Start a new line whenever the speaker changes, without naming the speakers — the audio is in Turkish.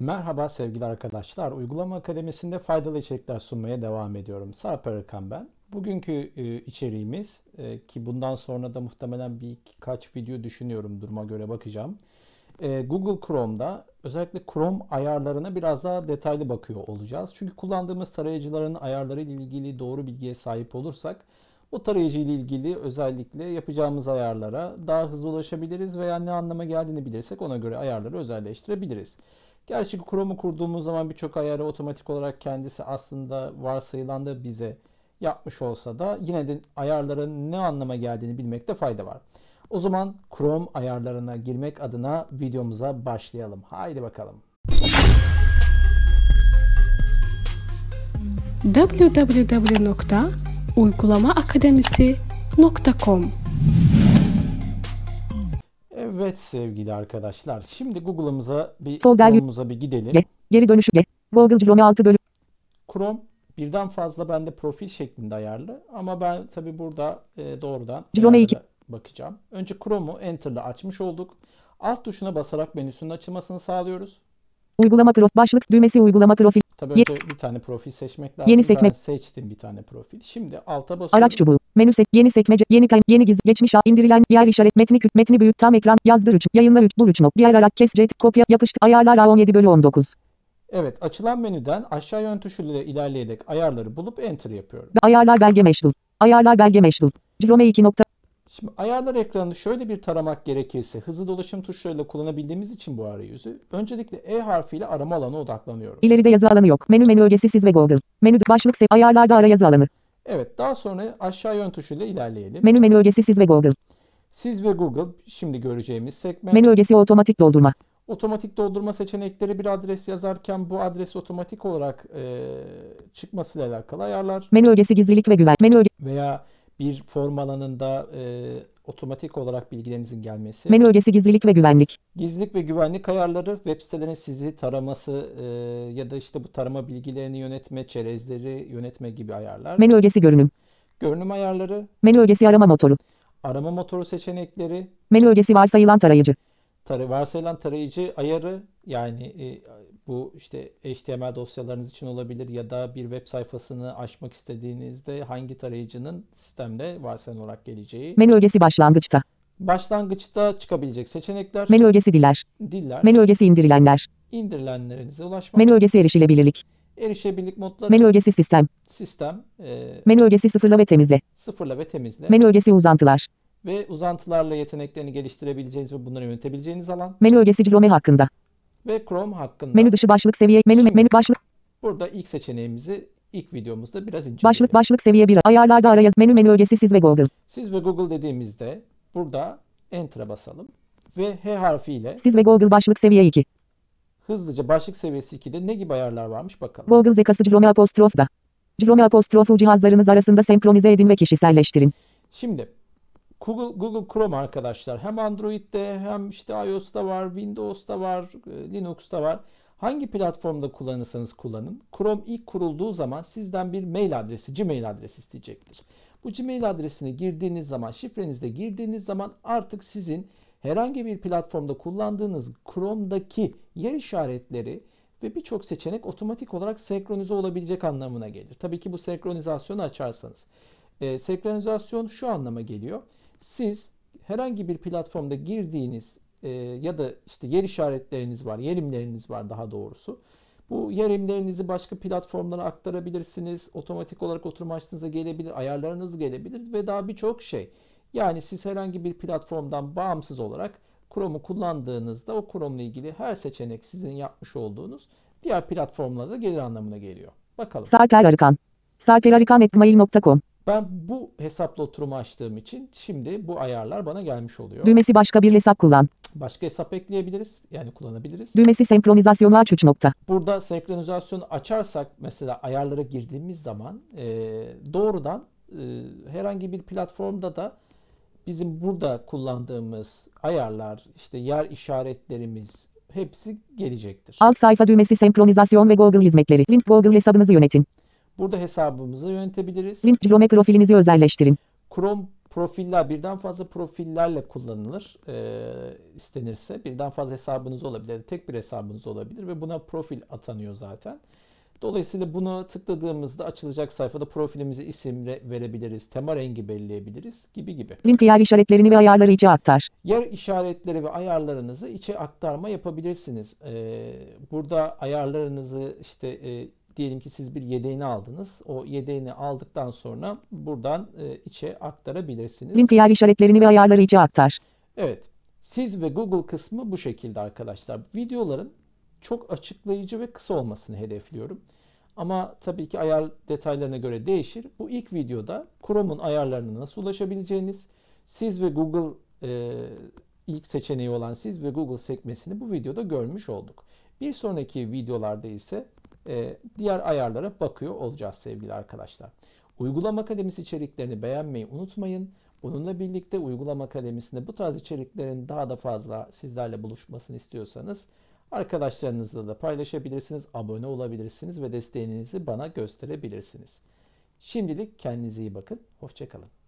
Merhaba sevgili arkadaşlar. Uygulama Akademisi'nde faydalı içerikler sunmaya devam ediyorum. Sarp Arıkan ben. Bugünkü e, içeriğimiz e, ki bundan sonra da muhtemelen birkaç video düşünüyorum duruma göre bakacağım. E, Google Chrome'da özellikle Chrome ayarlarına biraz daha detaylı bakıyor olacağız. Çünkü kullandığımız tarayıcıların ayarları ile ilgili doğru bilgiye sahip olursak o tarayıcı ile ilgili özellikle yapacağımız ayarlara daha hızlı ulaşabiliriz veya ne anlama geldiğini bilirsek ona göre ayarları özelleştirebiliriz. Gerçi Chrome'u kurduğumuz zaman birçok ayarı otomatik olarak kendisi aslında varsayılan da bize yapmış olsa da yine de ayarların ne anlama geldiğini bilmekte fayda var. O zaman Chrome ayarlarına girmek adına videomuza başlayalım. Haydi bakalım.
www.uygulamaakademisi.com
Evet sevgili arkadaşlar. Şimdi Google'ımıza bir
Folder-
Chrome'umuza bir gidelim.
Ye. Geri dönüşü ye. Google Chrome 6 bölü.
Chrome birden fazla bende profil şeklinde ayarlı ama ben tabi burada e, doğrudan
Chrome
ayarlara
iki.
bakacağım. Önce Chrome'u Enter'la açmış olduk. Alt tuşuna basarak menüsünün açılmasını sağlıyoruz.
Uygulama profil. Başlık düğmesi uygulama profil.
Tabii
Ye-
önce bir tane profil seçmek lazım.
Yeni sekme.
Ben seçtim bir tane profil. Şimdi alta basıyorum.
Araç çubuğu. Menü sek. Yeni sekmece. Yeni kayın. Yeni gizli. Geçmiş al. indirilen Yer işaret. Metni küt. Metni büyüt. Tam ekran. Yazdır 3. Yayınlar 3. Bul 3 nok. Diğer araç kes. cet, Kopya. Yapıştı. Ayarlar A17 bölü 19.
Evet açılan menüden aşağı yön tuşuyla ilerleyerek ayarları bulup Enter yapıyorum.
Ve ayarlar belge meşgul. Ayarlar belge meşgul. Chrome 2 nokta.
Şimdi ayarlar ekranını şöyle bir taramak gerekirse hızlı dolaşım tuşlarıyla kullanabildiğimiz için bu arayüzü öncelikle E harfiyle arama alanına odaklanıyorum.
İleride yazı alanı yok. Menü menü ögesi siz ve Google. Menü başlık sek. Ayarlarda ara yazı alanı.
Evet daha sonra aşağı yön tuşuyla ilerleyelim.
Menü menü ögesi siz ve Google.
Siz ve Google şimdi göreceğimiz sekme
Menü ögesi otomatik doldurma.
otomatik doldurma seçenekleri bir adres yazarken bu adres otomatik olarak e, çıkmasıyla alakalı ayarlar
Menü ögesi gizlilik ve güven. Menü öge,
veya bir form alanında e, otomatik olarak bilgilerinizin gelmesi.
menü ögesi gizlilik ve güvenlik.
Gizlilik ve güvenlik ayarları web sitelerinin sizi taraması e, ya da işte bu tarama bilgilerini yönetme, çerezleri yönetme gibi ayarlar.
Menü ögesi görünüm.
Görünüm ayarları,
Menü ögesi arama motoru.
arama motoru seçenekleri,
Menü ögesi varsayılan tarayıcı.
tarı, varsayılan tarayıcı ayarı yani e, bu işte HTML dosyalarınız için olabilir ya da bir web sayfasını açmak istediğinizde hangi tarayıcının sistemde varsayılan olarak geleceği.
Menü ögesi başlangıçta.
Başlangıçta çıkabilecek seçenekler,
Menü ögesi diller.
diller,
Menü ögesi indirilenler.
indirilenlerinize ulaşmak,
Menü ögesi erişilebilirlik.
erişebilirlik modları,
Menü ögesi sistem.
sistem, e,
Menü ögesi sıfırla ve temizle.
sıfırla ve temizle
Menü ögesi uzantılar.
ve uzantılarla yeteneklerini geliştirebileceğiniz ve bunları yönetebileceğiniz alan
Menü ögesi Chrome hakkında.
ve Chrome hakkında.
Menü dışı başlık seviye. Menü menü başlık
Burada ilk seçeneğimizi ilk videomuzda biraz inceledik.
başlık başlık seviye 1. Ayarlarda arayaz. Menü menü ögesi siz ve Google.
Siz ve Google dediğimizde burada Enter'a basalım ve H harfiyle
Siz ve Google başlık seviye 2.
hızlıca başlık seviyesi 2'de ne gibi ayarlar varmış bakalım.
Google zekası Chrome apostrof da. Chrome apostrofu cihazlarınız arasında senkronize edin ve kişiselleştirin.
Şimdi Google, Google Chrome arkadaşlar hem Android'de hem işte iOS'ta var, Windows'ta var, e, Linux'ta var. Hangi platformda kullanırsanız kullanın. Chrome ilk kurulduğu zaman sizden bir mail adresi, Gmail adresi isteyecektir. Bu Gmail adresini girdiğiniz zaman, şifrenizde girdiğiniz zaman artık sizin herhangi bir platformda kullandığınız Chrome'daki yer işaretleri ve birçok seçenek otomatik olarak senkronize olabilecek anlamına gelir. Tabii ki bu senkronizasyonu açarsanız. E, senkronizasyon şu anlama geliyor. Siz herhangi bir platformda girdiğiniz e, ya da işte yer işaretleriniz var, yerimleriniz var daha doğrusu. Bu yerimlerinizi başka platformlara aktarabilirsiniz. Otomatik olarak oturma açtığınızda gelebilir, ayarlarınız gelebilir ve daha birçok şey. Yani siz herhangi bir platformdan bağımsız olarak Chrome'u kullandığınızda o Chrome'la ilgili her seçenek sizin yapmış olduğunuz diğer platformlara da gelir anlamına geliyor. Bakalım.
Sarper Arıkan. sarperarıkan@gmail.com.
Ben bu hesapla oturumu açtığım için şimdi bu ayarlar bana gelmiş oluyor.
Düğmesi başka bir hesap kullan.
Başka hesap ekleyebiliriz. Yani kullanabiliriz.
Düğmesi senkronizasyonu aç 3 nokta.
Burada senkronizasyonu açarsak mesela ayarlara girdiğimiz zaman e, doğrudan e, herhangi bir platformda da bizim burada kullandığımız ayarlar, işte yer işaretlerimiz hepsi gelecektir.
Alt sayfa düğmesi senkronizasyon ve Google hizmetleri. Link Google hesabınızı yönetin.
Burada hesabımızı yönetebiliriz.
Link Chrome profilinizi özelleştirin.
Chrome Profiller birden fazla profillerle kullanılır eee, istenirse. Birden fazla hesabınız olabilir, tek bir hesabınız olabilir ve buna profil atanıyor zaten. Dolayısıyla bunu tıkladığımızda açılacak sayfada profilimize isim re- verebiliriz, tema rengi belirleyebiliriz gibi gibi.
Link yer işaretlerini ve ayarları içe aktar.
Yer işaretleri ve ayarlarınızı içe aktarma yapabilirsiniz. Ee, burada ayarlarınızı işte e, diyelim ki siz bir yedeğini aldınız. O yedeğini aldıktan sonra buradan e, içe aktarabilirsiniz.
Link yer işaretlerini ve ayarları içe aktar.
Evet. Siz ve Google kısmı bu şekilde arkadaşlar. Videoların çok açıklayıcı ve kısa olmasını hedefliyorum. Ama tabii ki ayar detaylarına göre değişir. Bu ilk videoda Chrome'un ayarlarına nasıl ulaşabileceğiniz, siz ve Google e, ilk seçeneği olan siz ve Google sekmesini bu videoda görmüş olduk. Bir sonraki videolarda ise e, diğer ayarlara bakıyor olacağız sevgili arkadaşlar. Uygulama Akademisi içeriklerini beğenmeyi unutmayın. Bununla birlikte Uygulama Akademisi'nde bu tarz içeriklerin daha da fazla sizlerle buluşmasını istiyorsanız arkadaşlarınızla da paylaşabilirsiniz, abone olabilirsiniz ve desteğinizi bana gösterebilirsiniz. Şimdilik kendinize iyi bakın, hoşçakalın.